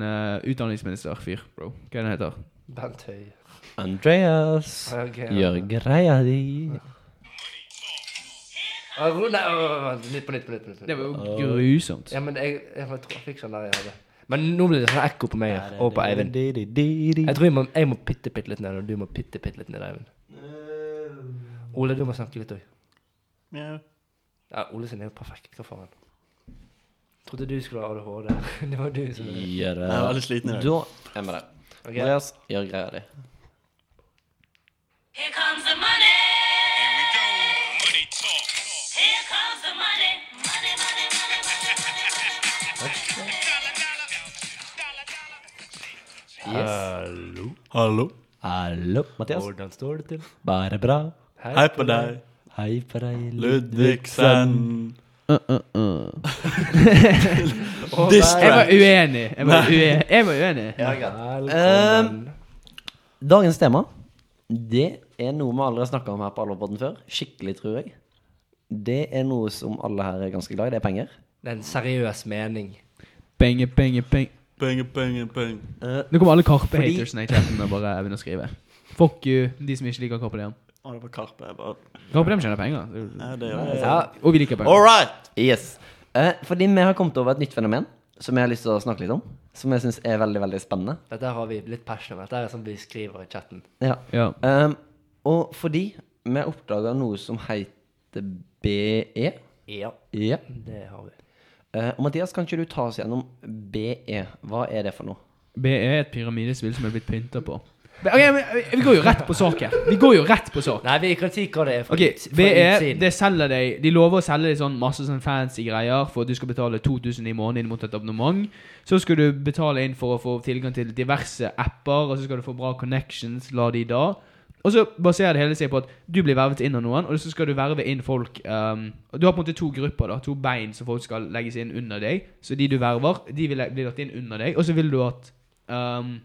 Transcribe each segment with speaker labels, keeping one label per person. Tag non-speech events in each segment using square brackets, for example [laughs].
Speaker 1: äh, utdanningsminister-fyr, bro. Hva er det han heter?
Speaker 2: Bent Høie.
Speaker 3: Andreas
Speaker 2: Okay.
Speaker 3: gjør greia di.
Speaker 2: Ah, ro- Nei, å, å, å, nytt på nytt på nytt. på nytt.
Speaker 1: Det var jo grusomt.
Speaker 2: Ja, men jeg, jeg, jeg tror jeg fikk sånn der jeg hadde. Men nå blir det sånn ekko på meg her, og på Eivind. Jeg tror jeg må, jeg må pitte pitt litt ned, og du må pitte pitt litt ned, Eivind. Ole, du må snakke litt òg.
Speaker 4: Mjau.
Speaker 2: Ja, Ole sin er jo perfekt. Hva faen? Trodde du skulle ha ADHD. [laughs] Det var du som
Speaker 3: Gjør det.
Speaker 4: Jeg er veldig sliten i dag.
Speaker 3: Da er vi der.
Speaker 2: Ok.
Speaker 3: Andreas gjør greia di.
Speaker 5: Here comes the money.
Speaker 6: Here we go. Money talk.
Speaker 5: Here comes the money. Money, money, money, money, money, money.
Speaker 6: Dollar, dollar, dollar, dollar.
Speaker 2: Hallo.
Speaker 4: Hallo.
Speaker 3: Hallo, Mathias.
Speaker 2: Ah, Hvordan står det til?
Speaker 3: Bare bra.
Speaker 4: Hei på deg,
Speaker 3: Hei på deg,
Speaker 4: Ludvigsen.
Speaker 1: Uh,
Speaker 4: [laughs]
Speaker 1: Jeg var
Speaker 4: Distract.
Speaker 1: uenig. Jeg var uenig. Jeg var uenig.
Speaker 2: Velkommen.
Speaker 3: Ehm, Dagens tema, det er noe vi aldri har snakka om her på Alvorpodden før. Skikkelig, tror jeg. Det er noe som alle her er ganske glad i. Det er penger.
Speaker 2: Det er en seriøs mening.
Speaker 1: Penge, penge, penge.
Speaker 4: Penger, penger, penger.
Speaker 1: Nå kommer alle Karpe-hatersene i chatten og bare begynner å skrive. Fuck you, de som ikke liker Karpe Diem.
Speaker 4: Å, det var Karpe. Jeg bare
Speaker 1: Karpe Diem tjener penger. Det er jo-
Speaker 4: Nei, det gjør jeg.
Speaker 2: Ja,
Speaker 1: Og vi liker penger.
Speaker 4: All right!
Speaker 3: Yes. Eh, fordi vi har kommet over et nytt fenomen som jeg har lyst til å snakke litt om. Som jeg syns er veldig, veldig spennende.
Speaker 2: dette her har vi litt passion om. Dette er sånn vi skriver i chatten.
Speaker 3: Ja.
Speaker 1: Ja.
Speaker 3: Ehm, og fordi vi oppdaga noe som heter BE.
Speaker 2: Ja,
Speaker 3: Ja.
Speaker 2: det har vi.
Speaker 3: Eh, og Mathias, kan ikke du ta oss gjennom BE? Hva er det for noe?
Speaker 1: BE E er et pyramidespill som er blitt pynta på. Men, ok, men, eh, vi går jo rett på sak her. Vi går jo rett på sak.
Speaker 2: Nei, vi kan si hva det er. fra
Speaker 1: Ok,
Speaker 2: ut- fra
Speaker 1: BE,
Speaker 2: utsiden.
Speaker 1: det selger deg De lover å selge deg sånn masse sånn fancy greier for at du skal betale 2000 i måneden inn mot et abonnement. Så skal du betale inn for å få tilgang til diverse apper, og så skal du få bra connections. La de da. Og så baserer det hele seg på at du blir vervet inn av noen, og så skal du verve inn folk ehm, og Du har på en måte to grupper, da, to bein som folk skal legges inn under deg. Så de du verver, de vil bli lagt inn under deg, og så vil du at ehm,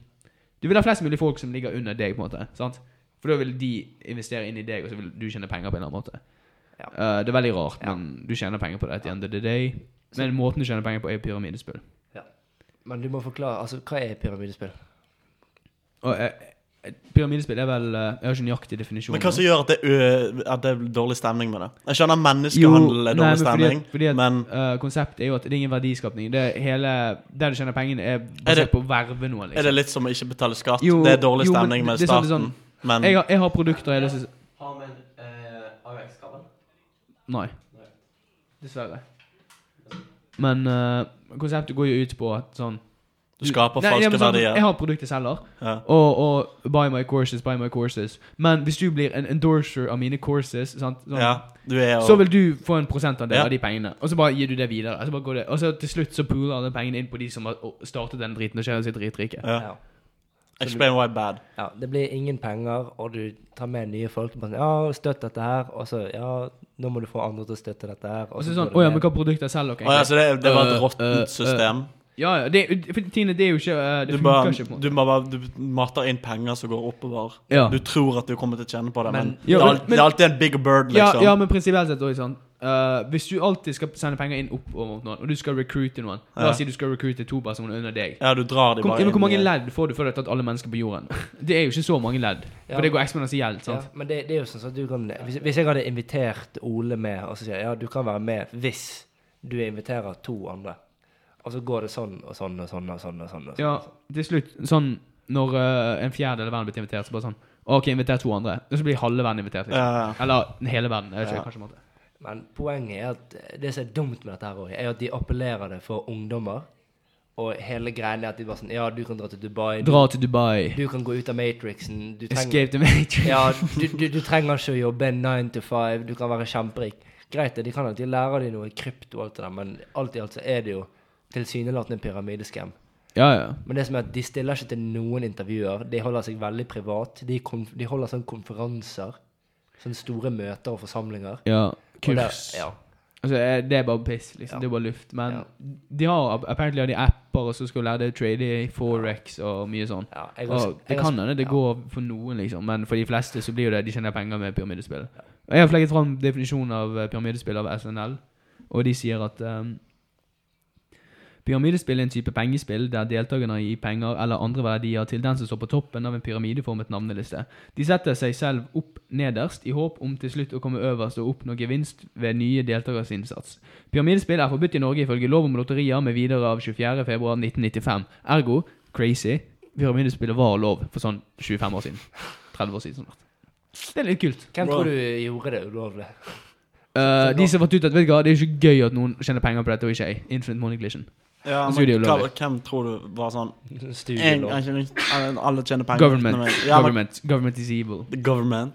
Speaker 1: Du vil ha flest mulig folk som ligger under deg, på en måte. sant? For da vil de investere inn i deg, og så vil du tjene penger på en eller annen måte. Eh, det er veldig rart, men du tjener penger på det at the end of the day. Men måten du tjener penger på, er pyramidespill.
Speaker 2: Ja. Men du må forklare, altså, hva er pyramidespill?
Speaker 1: Og eh, eh, pyramidespill er vel eh, Jeg har ikke nøyaktig definisjon.
Speaker 4: Men hva som
Speaker 1: nå.
Speaker 4: gjør at det, er ø at det er dårlig stemning med det? Jeg skjønner menneskehandel
Speaker 1: nei,
Speaker 4: er dårlig
Speaker 1: men fordi
Speaker 4: stemning,
Speaker 1: at, fordi at,
Speaker 4: men
Speaker 1: eh, Konseptet er jo at det er ingen verdiskapning. Det er hele, der du tjener pengene, er
Speaker 4: Er
Speaker 1: basert
Speaker 4: det-
Speaker 1: på å verve noe.
Speaker 4: er
Speaker 1: Liksom.
Speaker 4: det litt som å ikke betale skatt?
Speaker 1: Jo,
Speaker 4: det er dårlig
Speaker 1: jo, men
Speaker 4: stemning med
Speaker 1: det er sant, det er sant.
Speaker 4: staten, men
Speaker 1: Jeg har, jeg har produkter jeg har lyst til
Speaker 3: Har vi en eh, AUX-kabel?
Speaker 1: Nei. Dessverre. Men eh, konseptet går jo ut på at sånn
Speaker 4: du skaper
Speaker 1: Nei, ja, men
Speaker 4: falske
Speaker 1: sånn,
Speaker 4: verdier.
Speaker 1: Jeg har produktet jeg selger,
Speaker 4: Ja.
Speaker 1: og, og buy my courses, buy my courses. Men hvis du blir en endorser av mine courses, sant? Sånn,
Speaker 4: Ja, du er
Speaker 1: så
Speaker 4: jo
Speaker 1: vil du få en prosentandel
Speaker 4: Ja.
Speaker 1: av de pengene. Og så bare gir du det videre. Og så, bare går det. Og så til slutt så pooler alle pengene inn på de som har å- startet den driten og skjer seg dritrike.
Speaker 4: Ja.
Speaker 2: Ja.
Speaker 4: Explain why bad.
Speaker 2: ja. Det blir ingen penger, og du tar med nye folk. og Bare, sånn, ja, støtt dette her. Og så, ja, nå må du få andre til å støtte dette her.
Speaker 1: Og så
Speaker 2: går
Speaker 1: sånn
Speaker 2: det
Speaker 1: Å ja,
Speaker 2: ned.
Speaker 1: men hva produkter selger dere?
Speaker 4: Å ja, så det, det var
Speaker 1: Øh,
Speaker 4: et
Speaker 1: øh, øh.
Speaker 4: råttent system.
Speaker 1: Ja, ja. Det, for tingene, det er jo ikke eh,
Speaker 4: Du
Speaker 1: Det funker
Speaker 4: bare,
Speaker 1: ikke på en måte.
Speaker 4: du bare du mater inn penger som går oppover.
Speaker 1: Ja.
Speaker 4: Du tror at du kommer til å kjenne på det, men,
Speaker 2: Men-
Speaker 1: Ja,
Speaker 4: det, er
Speaker 1: men-
Speaker 4: alt, det er alltid en big bird,
Speaker 1: Ja,
Speaker 4: liksom.
Speaker 1: ja, men prinsipielt sett også, sånn. eh, hvis du alltid skal sende penger inn opp over noen, og du skal recruite noen La
Speaker 4: Ja.
Speaker 1: oss si du skal recruite to personer under deg.
Speaker 4: Ja, du drar de
Speaker 1: Hvor,
Speaker 4: bare
Speaker 1: ja, men hvor mange
Speaker 4: i-
Speaker 1: ledd får du før du har tatt alle mennesker på jorden? Det er jo ikke så mange ledd.
Speaker 2: Ja.
Speaker 1: For det går eksponentielt.
Speaker 2: Ja,
Speaker 1: sant?
Speaker 2: men det, det er jo sånn at du kan hvis, hvis jeg hadde invitert Ole med, og så sier jeg ja, du kan være med hvis du inviterer to andre. Og så går det sånn og sånn og sånn og sånn. og sånn, og sånn.
Speaker 1: Ja, til slutt, sånn når eh, en fjerdedel av verden blir invitert, så bare sånn OK, inviter to andre. Og så blir halve verden invitert. Liksom.
Speaker 4: Ja, ja.
Speaker 1: Eller hele verden. Jeg vet ikke, kanskje en måte.
Speaker 2: Men poenget er at det som er dumt med dette her også, er at de appellerer det for ungdommer. Og hele greia er at de bare sånn Ja, du kan dra til Dubai. Du,
Speaker 1: Dra til Dubai.
Speaker 2: du kan gå ut av Matrixen. Du trenger,
Speaker 1: Escape the Matrix.
Speaker 2: ja, du, du, du trenger ikke å jobbe nine to five. Du kan være kjemperik. Greit, det, de kan alltid lære deg noe krypto og alt det der, men alt i alt så er det jo tilsynelatende en pyramideskam.
Speaker 1: Ja, ja.
Speaker 2: Men det som er at de stiller ikke til noen intervjuer. De holder seg veldig privat. De, konf de holder sånne konferanser. Sånne store møter og forsamlinger.
Speaker 1: ja.
Speaker 2: Og der-
Speaker 1: Kurs.
Speaker 2: ja.
Speaker 1: Altså, eh, det er bare piss, liksom.
Speaker 2: Ja.
Speaker 1: Det er bare luft. Men
Speaker 2: Ja.
Speaker 1: de har apparently har de apper, og så skal du lære deg å trade i Forex og mye sånn.
Speaker 2: Ja, jeg har-
Speaker 1: Og det
Speaker 2: jeg har-
Speaker 1: kan hende det
Speaker 2: ja.
Speaker 1: går for noen, liksom, men for de fleste så blir jo det de tjener penger med pyramidespill. Og Jeg har flekket fram ehm, definisjonen av eh, pyramidespill av SNL, og de sier at um, Pyramidespill er en type pengespill der deltakerne gir penger eller andre verdier til den som står på toppen av en pyramideformet navneliste. De setter seg selv opp nederst, i håp om til slutt å komme øverst og oppnå gevinst ved nye deltakeres innsats. Pyramidespill er forbudt i Norge ifølge lov om lotterier med videre av 24.2.1995. Ergo crazy. Pyramidespillet var lov for sånn 25 år siden. 30 år siden snart. Det er litt kult.
Speaker 2: Hvem tror du gjorde det ulovlig?
Speaker 1: Eh, de som fant ut at vet du hva, det er ikke gøy at noen tjener penger på dette, og ikke jeg. Infinite Money Collision.
Speaker 4: Ja,
Speaker 1: Så er det
Speaker 4: men
Speaker 1: ulovlig.
Speaker 4: hva- hvem tror du var sånn en,
Speaker 2: Studielov.
Speaker 4: en, Alle tjener penger.
Speaker 1: Government.
Speaker 4: utenom meg. Ja, men,
Speaker 1: Government. Government is evil.
Speaker 4: the government.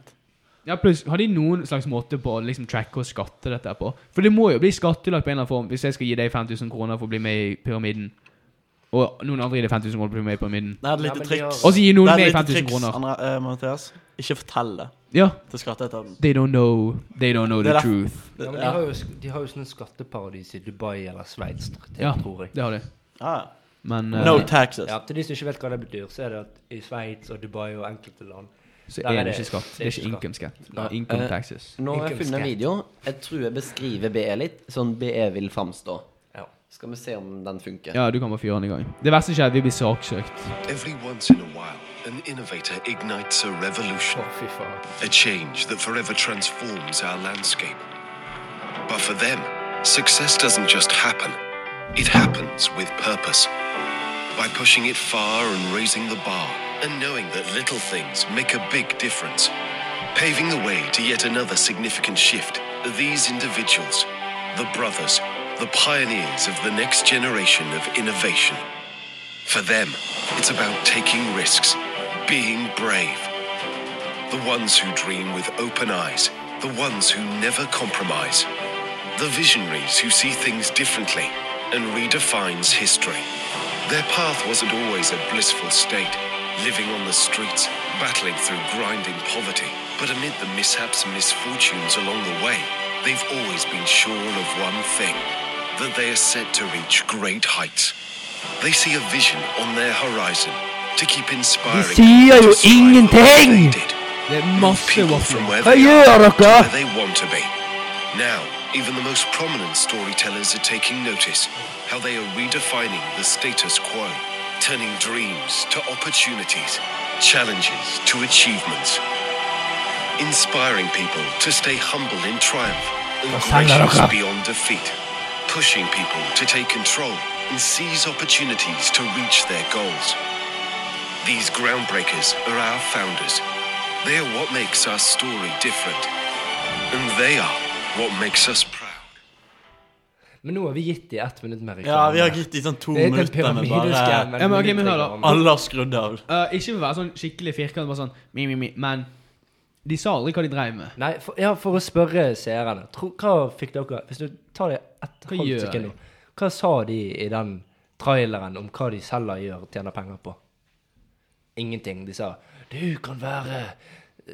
Speaker 1: Ja, pluss, Har de noen slags måte på å liksom tracke og skatte dette her på? For det må jo bli skattelagt på en eller annen form hvis jeg skal gi deg 5000 kroner for å bli med i Pyramiden. Og noen andre gir deg 5000 kroner for å bli med i Pyramiden.
Speaker 4: Det er et
Speaker 2: Ja,
Speaker 4: lite
Speaker 2: men de
Speaker 4: triks.
Speaker 2: har-
Speaker 1: Og så gir noen
Speaker 4: Det er
Speaker 1: meg
Speaker 4: et lite
Speaker 1: 5000
Speaker 4: triks,
Speaker 1: kroner.
Speaker 4: André, eh, Mathias. Ikke fortell det
Speaker 1: Ja.
Speaker 4: til skatteetaten.
Speaker 1: They don't know They don't know the
Speaker 4: Det er der-
Speaker 1: truth.
Speaker 2: Ja, men de, har jo, sk- de har jo sånne skatteparadis i Dubai eller Sveits,
Speaker 1: Ja,
Speaker 2: tror jeg.
Speaker 1: det har de.
Speaker 4: Ja, ja.
Speaker 1: Men eh,
Speaker 4: No taxes.
Speaker 2: Ja, Til de som ikke vet hva det betyr, så er det at i Sveits og Dubai og enkelte land
Speaker 1: så
Speaker 2: der
Speaker 1: er
Speaker 2: er
Speaker 1: det
Speaker 2: det-
Speaker 1: ikke skatt.
Speaker 2: det er
Speaker 1: Det er
Speaker 2: ikke
Speaker 1: ikke income skatt.
Speaker 2: Nei.
Speaker 1: Income
Speaker 3: Eh,
Speaker 1: taxes.
Speaker 3: Nå har jeg funnet en
Speaker 2: Income
Speaker 3: video. Jeg tror jeg beskriver BE litt, sånn BE vil framstå.
Speaker 2: Ja.
Speaker 3: Skal vi se om den funker.
Speaker 1: Ja, du kan bare fyre den i gang. Det verste skjer at vi blir saksøkt.
Speaker 7: Every once in a while, an innovator ignites a
Speaker 2: Å,
Speaker 7: revolution,
Speaker 2: fy faen.
Speaker 7: a change that forever transforms our landscape. But for them, success doesn't just happen, it happens with purpose. By pushing it far and raising the bar, and knowing that little things make a big difference. Paving the way to yet another significant shift are these individuals, the brothers, the pioneers of the next generation of innovation. For them, it's about taking risks, being brave. The ones who dream with open eyes, the ones who never compromise, the visionaries who see things differently and redefines history. Their path wasn't always a blissful state, living on the streets, battling through grinding poverty. But amid the mishaps and misfortunes along the way, they've always been sure of one thing that they are set to reach great heights. They see a vision on their horizon to keep
Speaker 2: De
Speaker 7: inspiring.
Speaker 2: sier jo
Speaker 7: people to strive for what
Speaker 2: ingenting!
Speaker 7: they did.
Speaker 1: Det er masse
Speaker 7: People from
Speaker 1: waffling.
Speaker 7: where
Speaker 2: Hva
Speaker 7: they are
Speaker 2: gjør dere?
Speaker 7: where they want to be. Now, even the most prominent storytellers are taking notice how they are redefining the status quo, turning dreams to opportunities, challenges to achievements, inspiring people to stay humble in triumph and gracious beyond defeat, pushing people to take control and seize opportunities to reach their goals. These groundbreakers are our founders. They are what makes our story different. And they are what makes us proud.
Speaker 2: Men nå har vi gitt de ett minutt med reklame.
Speaker 4: Ja, vi har gitt de sånn to
Speaker 2: Det er den
Speaker 4: minutter med bare
Speaker 2: pyramideskammen.
Speaker 1: Ja, men ok,
Speaker 2: med
Speaker 1: men hør da.
Speaker 2: reklame.
Speaker 4: Alle har skrudd av.
Speaker 1: Eh, ikke for å være sånn skikkelig firkant, bare sånn mi, mi, mi, men de sa aldri hva de drev med.
Speaker 2: Nei, for, ja, for å spørre seerne. Tro, hva fikk dere Hvis du tar det et
Speaker 1: Hva gjør
Speaker 2: halvt sekund nå. Hva sa de i den traileren om hva de selger gjør tjener penger på? Ingenting. De sa 'Du kan være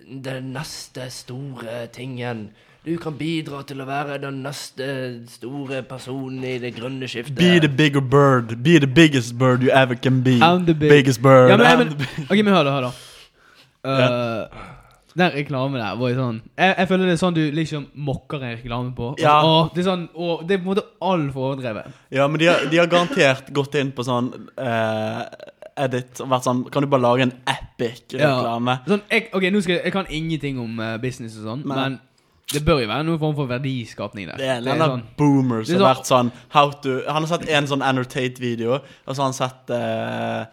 Speaker 2: den neste store tingen'. Du kan bidra til å være den neste store personen i det grønne skiftet.
Speaker 4: Be the bigger bird. Be the biggest bird you ever can be.
Speaker 1: I'm the big-
Speaker 4: Mm. biggest bird.
Speaker 1: Ja, men,
Speaker 4: I'm
Speaker 1: men,
Speaker 4: the big-
Speaker 1: ok, men hør da, hør da. Eh, Den reklamen der var jo sånn jeg, jeg føler det er sånn du liksom mokker en reklame på. Og,
Speaker 4: Ja.
Speaker 1: så, åh, det er sånn, åh, det er på en måte altfor overdrevet.
Speaker 4: ja, men de har, de har garantert gått inn på sånn eh, edit og vært sånn Kan du bare lage en epic reklame?
Speaker 1: Sånn, jeg, ok, nå skal jeg, jeg kan ingenting om eh, business og sånn,
Speaker 4: Nei.
Speaker 1: men det bør jo være noen form for verdiskapning der.
Speaker 4: Det er en
Speaker 1: Det er
Speaker 4: eller annen
Speaker 1: sånn-
Speaker 4: boomer
Speaker 1: det
Speaker 4: som
Speaker 1: er
Speaker 4: har vært sånn how to, Han har sett en sånn Annotate-video, og så har han sett eh,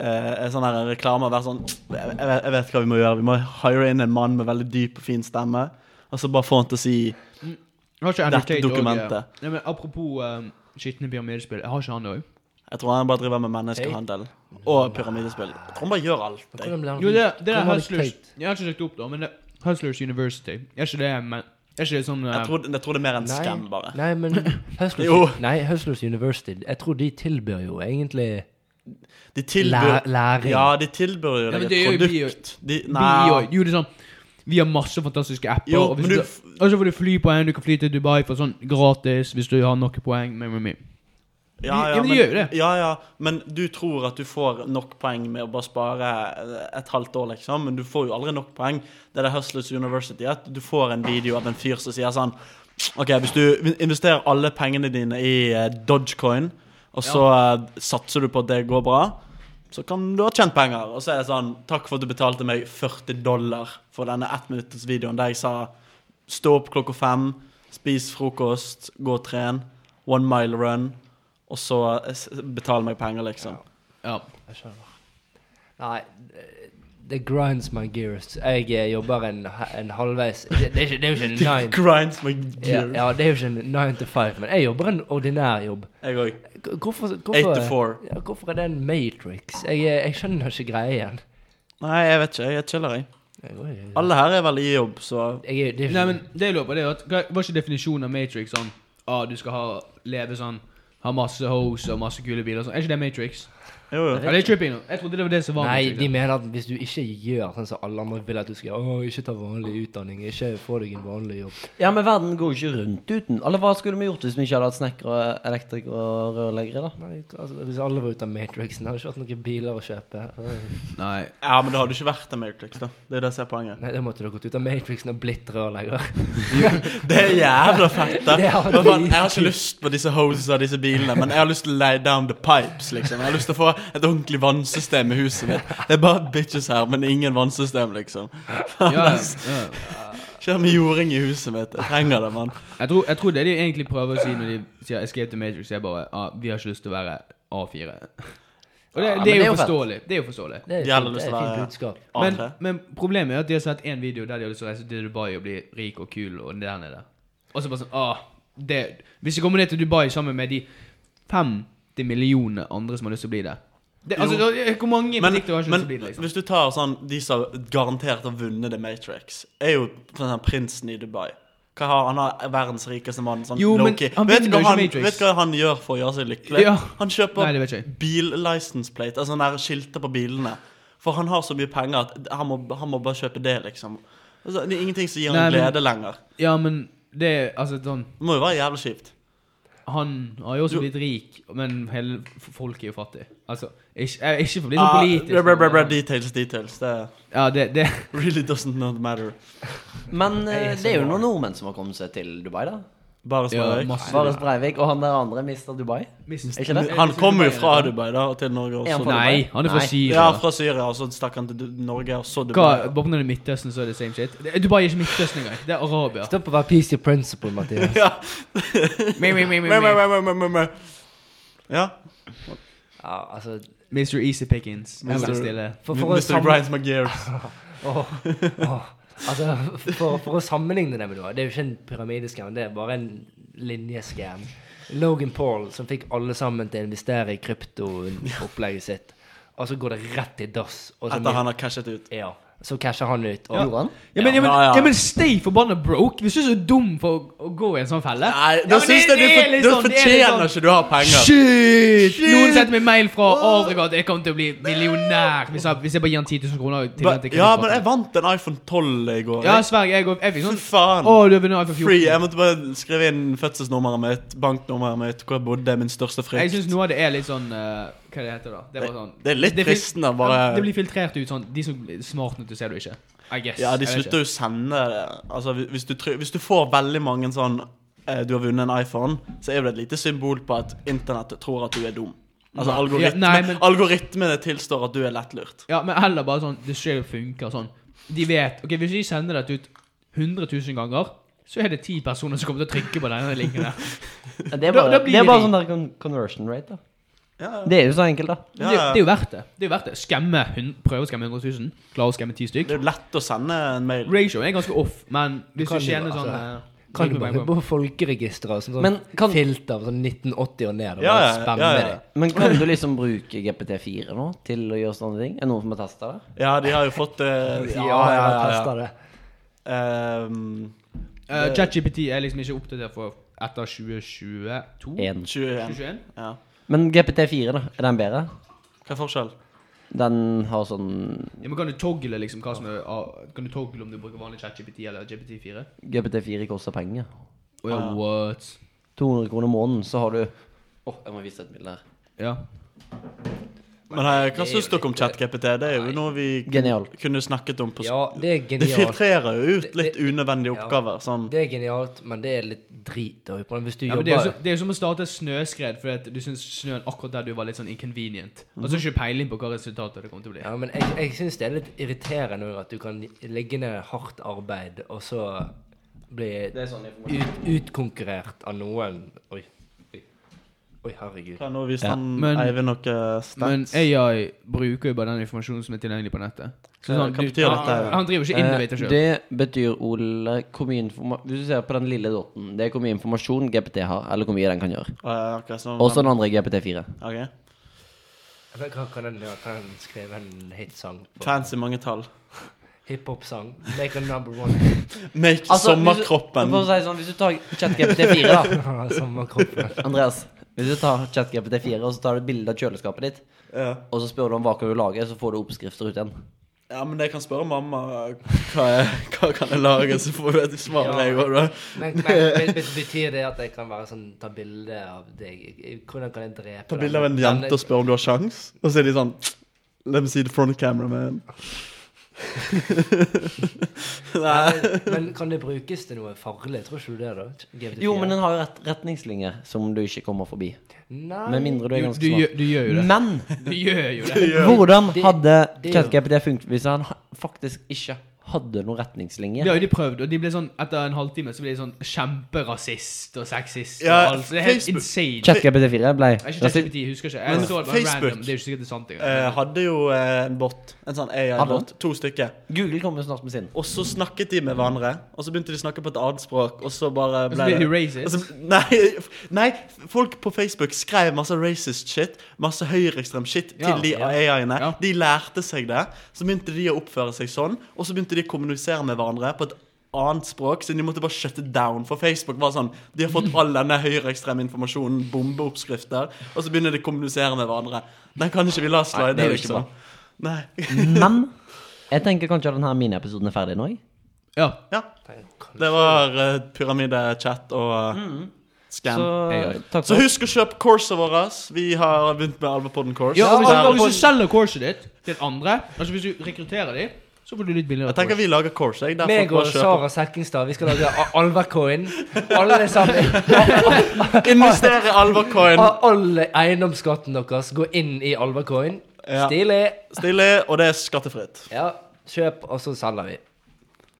Speaker 4: eh, en sånn her reklame og vært sånn jeg, jeg, vet, 'Jeg vet hva vi må gjøre. Vi må hire inn en mann med veldig dyp og fin stemme.' Og så bare få han til å si
Speaker 1: Jeg har ikke
Speaker 4: Dette
Speaker 1: annotate og, eh,
Speaker 4: dokumentet.
Speaker 1: Nei, men apropos eh, skitne pyramidespill, jeg har ikke han òg.
Speaker 4: Jeg tror han bare driver med menneskehandel og pyramidespill. Jeg tror han bare gjør alt. jeg.
Speaker 2: Hvordan ble han
Speaker 1: Jo, det,
Speaker 2: rik?
Speaker 1: det er
Speaker 2: Hvordan var det
Speaker 1: Hustlers
Speaker 2: teit?
Speaker 1: Jeg har ikke søkt opp, da, men det Hustlers University. Er ikke det men, Er ikke det sånn eh,
Speaker 4: Jeg tror, jeg tror det er mer en skam, bare.
Speaker 2: Nei, men Hustlers,
Speaker 4: Jo.
Speaker 2: nei, Hustlers University Jeg tror de tilbyr jo egentlig
Speaker 4: De tilbyr
Speaker 2: Læ- læring.
Speaker 4: Ja, de tilbyr jo
Speaker 1: Ja, men
Speaker 4: deg
Speaker 1: det
Speaker 4: et
Speaker 1: gjør jo vi
Speaker 4: produkt. De, nei.
Speaker 1: Nei. Jo, det er sånn Vi har masse fantastiske apper.
Speaker 4: Jo,
Speaker 1: og, hvis
Speaker 4: men
Speaker 1: du,
Speaker 4: du f-
Speaker 1: og så får du flypoeng. Du kan fly til Dubai for sånn gratis hvis du har nok poeng. Men, men, men.
Speaker 4: Ja,
Speaker 1: de- ja, men de gjør jo det.
Speaker 4: Ja, ja, men du tror at du får nok poeng med å bare spare et halvt år, liksom. Men du får jo aldri nok poeng. Det er det Hustlers University. At du får en video av en fyr som sier sånn OK, hvis du investerer alle pengene dine i eh, Dogecoin og så eh, satser du på at det går bra, så kan du ha tjent penger. Og så er det sånn Takk for at du betalte meg 40 dollar for denne ettminuttersvideoen der jeg sa stå opp klokka fem, spis frokost, gå og tren, one mile run, og så eh, s- betal meg penger, liksom.
Speaker 1: Ja.
Speaker 2: Jeg skjønner. Nei, det- det grinds my gears. Jeg eh, jobber en, en halvveis det, det, er ikke, det
Speaker 1: [laughs]
Speaker 2: er jo
Speaker 4: [laughs]
Speaker 2: ikke en nine
Speaker 4: Grinds my
Speaker 2: ja,
Speaker 4: gear.
Speaker 2: ja, det er jo ikke en nine to five, men jeg jobber en ordinær jobb.
Speaker 4: Jeg òg.
Speaker 2: K- Hvorfor, hvorfor,
Speaker 4: Eight to four.
Speaker 2: Ja, hvorfor er det en matrix? Jeg, eh, jeg skjønner ikke greien.
Speaker 4: Nei, jeg vet ikke. Jeg er chiller, jeg.
Speaker 2: Jeg, går ikke-
Speaker 4: Alle her er vel i jobb, så
Speaker 2: jeg, er- det er ikke-
Speaker 1: Nei, men det jeg lurer på, det er at hva- Var ikke definisjonen av Matrix sånn ah, du skal ha, leve sånn Ha masse hoes og masse kule biler og sånn? Er ikke det Matrix?
Speaker 4: Jo, jo.
Speaker 1: Ja, det er tripping nå. Jeg trodde det var det som var
Speaker 2: Nei,
Speaker 1: Matrix,
Speaker 2: de
Speaker 1: ja.
Speaker 2: mener at hvis du ikke gjør sånn som alle andre vil at du skal gjøre, å, ikke ta vanlig utdanning, ikke få deg en vanlig jobb
Speaker 3: Ja, men verden går jo ikke rundt uten. Eller hva skulle vi gjort hvis vi ikke hadde hatt snekkere, elektrikere og rørleggere, da?
Speaker 2: Nei, altså, Hvis alle var ute av Matrixen, hadde det ikke vært noen biler å kjøpe.
Speaker 1: Nei.
Speaker 4: Ja, men det hadde ikke vært en Matrix, da. Det er det som er poenget.
Speaker 2: [laughs] Nei, Da måtte du gått ut av Matrixen og blitt rørlegger.
Speaker 4: Det er jævla fett, da.
Speaker 2: Det har
Speaker 4: Men faen,
Speaker 2: vi.
Speaker 4: jeg har ikke lyst på disse hoses og disse bilene, men jeg har lyst til å lay down the pipes, liksom. Jeg har lyst til å få et ordentlig vannsystem i huset mitt. Det er bare bitches her, men ingen vannsystem, liksom.
Speaker 1: Ja, ja.
Speaker 4: [laughs] Kjør med jording i huset mitt. Jeg trenger det, mann.
Speaker 1: Jeg, tror, jeg tror det de egentlig prøver å si når de sier 'escape the Matrix', er bare ah, 'vi har ikke lyst til å være A4'. Og det,
Speaker 3: men
Speaker 1: det,
Speaker 3: det
Speaker 1: er
Speaker 3: er jo
Speaker 1: jo
Speaker 3: fett.
Speaker 1: forståelig. Det er jo forståelig.
Speaker 2: Det er,
Speaker 4: De hadde
Speaker 2: fint, det
Speaker 4: lyst
Speaker 2: er
Speaker 4: til
Speaker 2: et
Speaker 4: å
Speaker 2: fint
Speaker 4: være-
Speaker 2: budskap.
Speaker 1: Men,
Speaker 4: A3.
Speaker 1: men problemet er at de har sett én video der de har lyst til å reise til Dubai og bli rik og kul og der nede. Og så bare sånn ah, det, Hvis de kommer ned til Dubai sammen med de 50 millionene andre som har lyst til å bli det, det altså,
Speaker 4: Jo.
Speaker 1: da- Hvor mange på
Speaker 4: Men,
Speaker 1: TikTok har ikke
Speaker 4: men
Speaker 1: lyst til å bli det? liksom?
Speaker 4: hvis du tar sånn De som garantert har vunnet The Matrix, er jo for eksempel prinsen i Dubai. Hva har han? har verdens rikeste mann. Sånn
Speaker 1: Jo, men
Speaker 4: low-key.
Speaker 1: han
Speaker 4: vet,
Speaker 1: vinner
Speaker 4: hva
Speaker 1: jo ikke
Speaker 4: han,
Speaker 1: Matrix.
Speaker 4: vet hva han gjør for å gjøre seg lykkelig?
Speaker 1: Ja.
Speaker 4: Han kjøper
Speaker 1: Nei, det vet jeg.
Speaker 4: bil-license plate, altså sånne der skilter på bilene. For han har så mye penger at han må, han må bare kjøpe det, liksom. Altså, det er ingenting som gir
Speaker 1: Nei,
Speaker 4: ham
Speaker 1: men-
Speaker 4: glede lenger.
Speaker 1: Ja, men det er- Altså, sånn
Speaker 4: Det må jo være jævlig kjipt.
Speaker 1: Han har jo også
Speaker 4: Jo.
Speaker 1: blitt rik, men hele f- folket er jo fattig. Altså, ikke, jeg, ikke for å bli sånn
Speaker 4: Ah,
Speaker 1: politisk.
Speaker 4: bra, bra, bra, bra,
Speaker 1: men-
Speaker 4: details, details. Det
Speaker 1: Ja, det, det
Speaker 4: really doesn't not matter.
Speaker 3: Men eh, det er jo noen nordmenn som har kommet seg til Dubai, da.
Speaker 4: Bare
Speaker 1: ja,
Speaker 4: småøyk.
Speaker 1: masse-
Speaker 3: Vares Breivik og han der andre, Mr. Dubai.
Speaker 1: Mist-
Speaker 3: ikke det?
Speaker 4: Han kommer jo fra Dubai da, og til Norge
Speaker 3: Er han
Speaker 4: også.
Speaker 3: fra
Speaker 1: Nei, han er fra
Speaker 3: Nei.
Speaker 1: Syria.
Speaker 4: Ja, fra Syria, og så stakk han til Du- Norge, og så
Speaker 1: Hva,
Speaker 4: Dubai.
Speaker 1: Bare når det er Midtøsten, så er det same shit. Det- Dubai er ikke Midtøsten engang. Det er Arabia.
Speaker 2: Stå på hver piece of principle,
Speaker 4: [laughs]
Speaker 2: Mathias.
Speaker 4: [laughs] Ja.
Speaker 1: Me, me, me, me,
Speaker 4: Mæ, mæ,
Speaker 1: me.
Speaker 4: mæ, mæ, mæ, mæ. Ja.
Speaker 2: Ja, altså,
Speaker 1: Mr. Easy Pickings. Jeg må
Speaker 4: Mr.
Speaker 1: stille.
Speaker 2: for, for, å
Speaker 4: Mr.
Speaker 2: sam-
Speaker 1: [laughs]
Speaker 4: Brian's McGears.
Speaker 2: Åh, åh. altså, for, for å sammenligne det med noe Det er jo ikke en pyramideskam, det er bare en linjeskam. Logan Paul, som fikk alle sammen til å investere i kryptoopplegget sitt, og så går det rett i dass. Og så,
Speaker 4: Etter han har cashet ut.
Speaker 2: ja, så casher han ut. Og,
Speaker 3: Gjorde han?
Speaker 1: Ja, men, ja, men,
Speaker 4: Ja, ja.
Speaker 1: ja, men stay forbanna broke. Hvis du er så dum for å, å gå i en sånn felle
Speaker 4: Nei,
Speaker 1: Ja,
Speaker 4: da
Speaker 1: men
Speaker 4: syns
Speaker 1: det-
Speaker 4: jeg du,
Speaker 1: det er
Speaker 4: for,
Speaker 1: litt
Speaker 4: du
Speaker 1: sånn- det er litt
Speaker 4: fortjener
Speaker 1: sånn-
Speaker 4: ikke du har penger.
Speaker 1: Shit! Noen sendte meg mail fra Afrika at jeg kommer til å bli millionær hvis jeg, hvis jeg bare gir han 10 000 kroner. Til
Speaker 4: Ba-
Speaker 1: at jeg kan
Speaker 4: Ja,
Speaker 1: få
Speaker 4: men
Speaker 1: det.
Speaker 4: jeg vant en iPhone 12 i går.
Speaker 1: Ja,
Speaker 4: jeg.
Speaker 1: Sverige, jeg, jeg fikk
Speaker 4: Fy
Speaker 1: sånn
Speaker 4: faen.
Speaker 1: Å, du har vunnet iPhone 14.
Speaker 4: Free. Jeg måtte bare skrive inn fødselsnummeret mitt, banknummeret mitt, hvor jeg bodde, min største
Speaker 1: Jeg
Speaker 4: frykt.
Speaker 1: syns noe av det er litt sånn eh, Hva det heter det da? Det er, bare sånn,
Speaker 4: Det er litt
Speaker 1: fil-
Speaker 4: fristende, bare-
Speaker 1: Ja, Det blir filtrert ut sånn De som er smart nok til å se det, ikke. I guess.
Speaker 4: Ja, de
Speaker 1: Jeg vet
Speaker 4: slutter jo å sende Altså, hvis- hvis du, try- hvis du får veldig mange sånn eh, Du har vunnet en iPhone, så er jo det et lite symbol på at internett tror at du er dum. Altså, algoritme,
Speaker 1: nei, men-
Speaker 4: algoritmene tilstår at du er lettlurt.
Speaker 1: ikke. Ja, men heller bare sånn Det selv funker sånn. De vet Ok, hvis vi sender dette ut 100 000 ganger, så er det ti personer som kommer til å trykke på denne linken
Speaker 2: [laughs]
Speaker 1: der.
Speaker 3: Ja, Det er
Speaker 1: Da-
Speaker 3: bare,
Speaker 1: da blir
Speaker 3: det er bare
Speaker 1: de-
Speaker 3: sånn der con conversion rate, da.
Speaker 4: Ja,
Speaker 3: Det er jo så enkelt, da.
Speaker 1: Men Det, det er jo verdt det. Det er jo verdt det. Skemme hun- Prøve å skemme 100 000. Klare å skemme ti
Speaker 4: Det
Speaker 1: stykk.
Speaker 4: er jo lett å sende en mail.
Speaker 1: Ratioen er ganske off, men hvis
Speaker 2: Kan
Speaker 1: du
Speaker 2: jo,
Speaker 1: tjener sånn
Speaker 2: altså,
Speaker 1: eh,
Speaker 2: kan
Speaker 1: trykker
Speaker 2: du
Speaker 1: på
Speaker 2: bare
Speaker 1: en
Speaker 2: på
Speaker 1: gang.
Speaker 2: folkeregistre og sånn, sånn
Speaker 3: Men kan-
Speaker 2: filter fra sånn 1980 og ned? Og
Speaker 4: Ja,
Speaker 2: bare
Speaker 4: ja,
Speaker 2: spamme
Speaker 4: ja, ja.
Speaker 2: det.
Speaker 3: Men kan du liksom bruke GPT4 nå til å gjøre sånne ting? Er det noen som har testa det?
Speaker 4: Ja, de har jo fått eh,
Speaker 2: Ja, ja, ja, Det.
Speaker 4: Ehm,
Speaker 1: Eh, ChatGPT er liksom ikke oppdatert for etter 2022?
Speaker 3: En.
Speaker 4: 21.
Speaker 1: 2021?
Speaker 4: Ja.
Speaker 3: Men GPT4, da? Er den bedre?
Speaker 4: Hva er forskjellen?
Speaker 3: Den har sånn
Speaker 1: Ja, men kan du toggle liksom hva som er ah, Kan du toggle om du bruker vanlig ChatGPT eller GPT4?
Speaker 3: GPT4 koster penger.
Speaker 1: Å ja, what?
Speaker 3: 200 kroner i måneden, så har du Åh, jeg må vise et bilde her.
Speaker 1: Ja.
Speaker 4: Men eh, hva syns dere om ChatGPT? Det er jo noe vi
Speaker 3: Genial.
Speaker 4: kunne snakket om på s-
Speaker 2: Ja, det er
Speaker 4: Det
Speaker 2: genialt.
Speaker 4: filtrerer jo ut
Speaker 2: Det-
Speaker 4: litt
Speaker 2: det-
Speaker 4: unødvendige
Speaker 2: ja.
Speaker 4: oppgaver. Sånn.
Speaker 2: Det er genialt, men det er litt drit. da, på den. Hvis du
Speaker 1: Ja, men
Speaker 2: jobber
Speaker 1: det, er jo som, det er jo som å starte et snøskred fordi at du syns snøen akkurat der du var litt sånn inconvenient. Og
Speaker 4: Mhm.
Speaker 1: så har du ikke peiling på hva resultatet det kommer til å bli.
Speaker 2: Ja, men jeg, jeg syns det er litt irriterende også at du kan legge ned hardt arbeid, og så bli
Speaker 3: er sånn informasjon.
Speaker 2: ut, utkonkurrert av noen Oi. Oi, Oi, herregud.
Speaker 4: Ja, nå viste han
Speaker 1: Men-
Speaker 4: sånn, Eivind noe
Speaker 1: Men
Speaker 4: stats.
Speaker 1: AI bruker jo bare den informasjonen som er tilgjengelig på nettet. Så sånn,
Speaker 4: hva
Speaker 1: du,
Speaker 4: betyr dette?
Speaker 1: han, han driver ikke
Speaker 3: Eh,
Speaker 1: innovator sjøl.
Speaker 3: Det betyr, Ole, hvor mye informasjon Hvis du ser på den lille dotten, det er hvor mye informasjon GPT har, eller hvor mye den kan gjøre.
Speaker 4: Eh, ok, så-
Speaker 3: Også den andre er GPT4.
Speaker 4: ok.
Speaker 2: Men Hva kan den gjøre? Kan den skrive en hitsang? på-
Speaker 4: Fancy mange tall.
Speaker 2: Hiphop-sang? Make a number one.
Speaker 4: Make
Speaker 3: Altså, Hvis
Speaker 4: sommerkroppen
Speaker 3: du, for å si det sånn, hvis du tar ChatGPT4, da
Speaker 2: Samme kroppen.
Speaker 3: Andreas, hvis du tar ChatGPT4 og så tar du et bilde av kjøleskapet ditt,
Speaker 4: ja.
Speaker 3: og så spør du om hva kan du lage, så får du oppskrifter ut igjen.
Speaker 4: ja, men jeg kan spørre mamma hva, jeg, hva kan jeg lage, så får jeg et svar,
Speaker 2: Ja.
Speaker 4: jeg òg, da.
Speaker 2: Men, men bet- bet- betyr det at jeg kan være sånn, ta bilde av deg? Hvordan kan jeg drepe
Speaker 4: Ta
Speaker 2: den?
Speaker 4: bilde av en
Speaker 2: Den-
Speaker 4: jente og spørre om du har sjans Og så er de sånn Let me see the front camera, man.
Speaker 2: Men,
Speaker 3: [laughs]
Speaker 2: men kan det brukes til noe farlig? Tror ikke du det, da? GPT-4?
Speaker 3: Jo, men den har jo ret retningslinjer som du ikke kommer forbi.
Speaker 2: Nei.
Speaker 3: Med mindre du er
Speaker 1: Du,
Speaker 3: ganske
Speaker 1: du, gjør-
Speaker 3: smart.
Speaker 1: du gjør jo det.
Speaker 3: Men
Speaker 1: Du gjør jo [laughs]
Speaker 4: [laughs]
Speaker 1: det.
Speaker 3: hvordan
Speaker 2: Det-
Speaker 3: hadde
Speaker 2: det-
Speaker 3: ChatGPT funket hvis han ha- faktisk ikke hadde noen retningslinjer?
Speaker 1: Det har jo de prøvd, og de ble sånn, etter en halvtime så ble de sånn kjemperasist og sexist.
Speaker 4: Ja,
Speaker 1: og alt. Så det er helt
Speaker 4: Facebook-
Speaker 1: insane.
Speaker 3: ChatGPT4 ble
Speaker 1: Jeg er ikke
Speaker 3: rasist.
Speaker 1: ChatGPT, jeg husker ikke.
Speaker 4: Men
Speaker 1: Jeg så det bare
Speaker 4: Facebook-
Speaker 1: random. Det er jo ikke sikkert det er sant engang.
Speaker 4: Eh, hadde jo eh, en bot. En sånn
Speaker 3: Hadde
Speaker 4: AI-bot. To stykker.
Speaker 3: Google kommer snart med sin.
Speaker 4: Og så snakket de med hverandre, og så begynte de å snakke på et annet språk, og så bare
Speaker 1: Og så ble de racist.
Speaker 4: Og så- nei, [laughs] f- nei, folk på Facebook skrev masse racist shit, masse høyreekstrem shit
Speaker 1: Ja,
Speaker 4: til de
Speaker 1: ja,
Speaker 4: AI-ene.
Speaker 1: ja.
Speaker 4: De lærte seg det. Så begynte de å oppføre seg sånn, og så begynte de å kommunisere med hverandre på et annet språk, så de måtte bare shutte down, for Facebook var sånn De har
Speaker 1: [laughs]
Speaker 4: fått all denne høyreekstreme informasjonen, bombeoppskrifter, og så begynner de å kommunisere med hverandre. Den kan ikke vi la slide,
Speaker 3: det er jo ikke
Speaker 4: liksom. Nei.
Speaker 3: [laughs] Men jeg tenker kanskje at denne miniepisoden er ferdig nå. jeg.
Speaker 1: Ja.
Speaker 4: Ja.
Speaker 2: Kan-
Speaker 4: Det var uh, pyramidechat og eh, scam.
Speaker 3: Så
Speaker 1: Jeg gjør
Speaker 3: takk
Speaker 4: Så
Speaker 3: for
Speaker 4: husk å kjøpe courset vårt. Vi har begynt med Alvapodden course.
Speaker 1: ja og hvis,
Speaker 4: Der-
Speaker 1: og hvis du selger courset ditt til andre, altså hvis du rekrutterer dem, så får du litt billigere
Speaker 4: jeg tenker vi lager course. Jeg, der
Speaker 2: Meg
Speaker 4: folk
Speaker 2: og
Speaker 4: bare
Speaker 2: Sara
Speaker 4: kjøper.
Speaker 2: Sekkingstad, vi skal lage a- Alvercoin. Alle
Speaker 3: [laughs]
Speaker 2: sammen.
Speaker 4: Investere i Alvacoin.
Speaker 2: a- All eiendomsskatten deres går inn i Alvercoin.
Speaker 4: Ja.
Speaker 2: Stilig.
Speaker 4: Stilig, og det er skattefritt.
Speaker 2: Ja, kjøp, og så selger vi.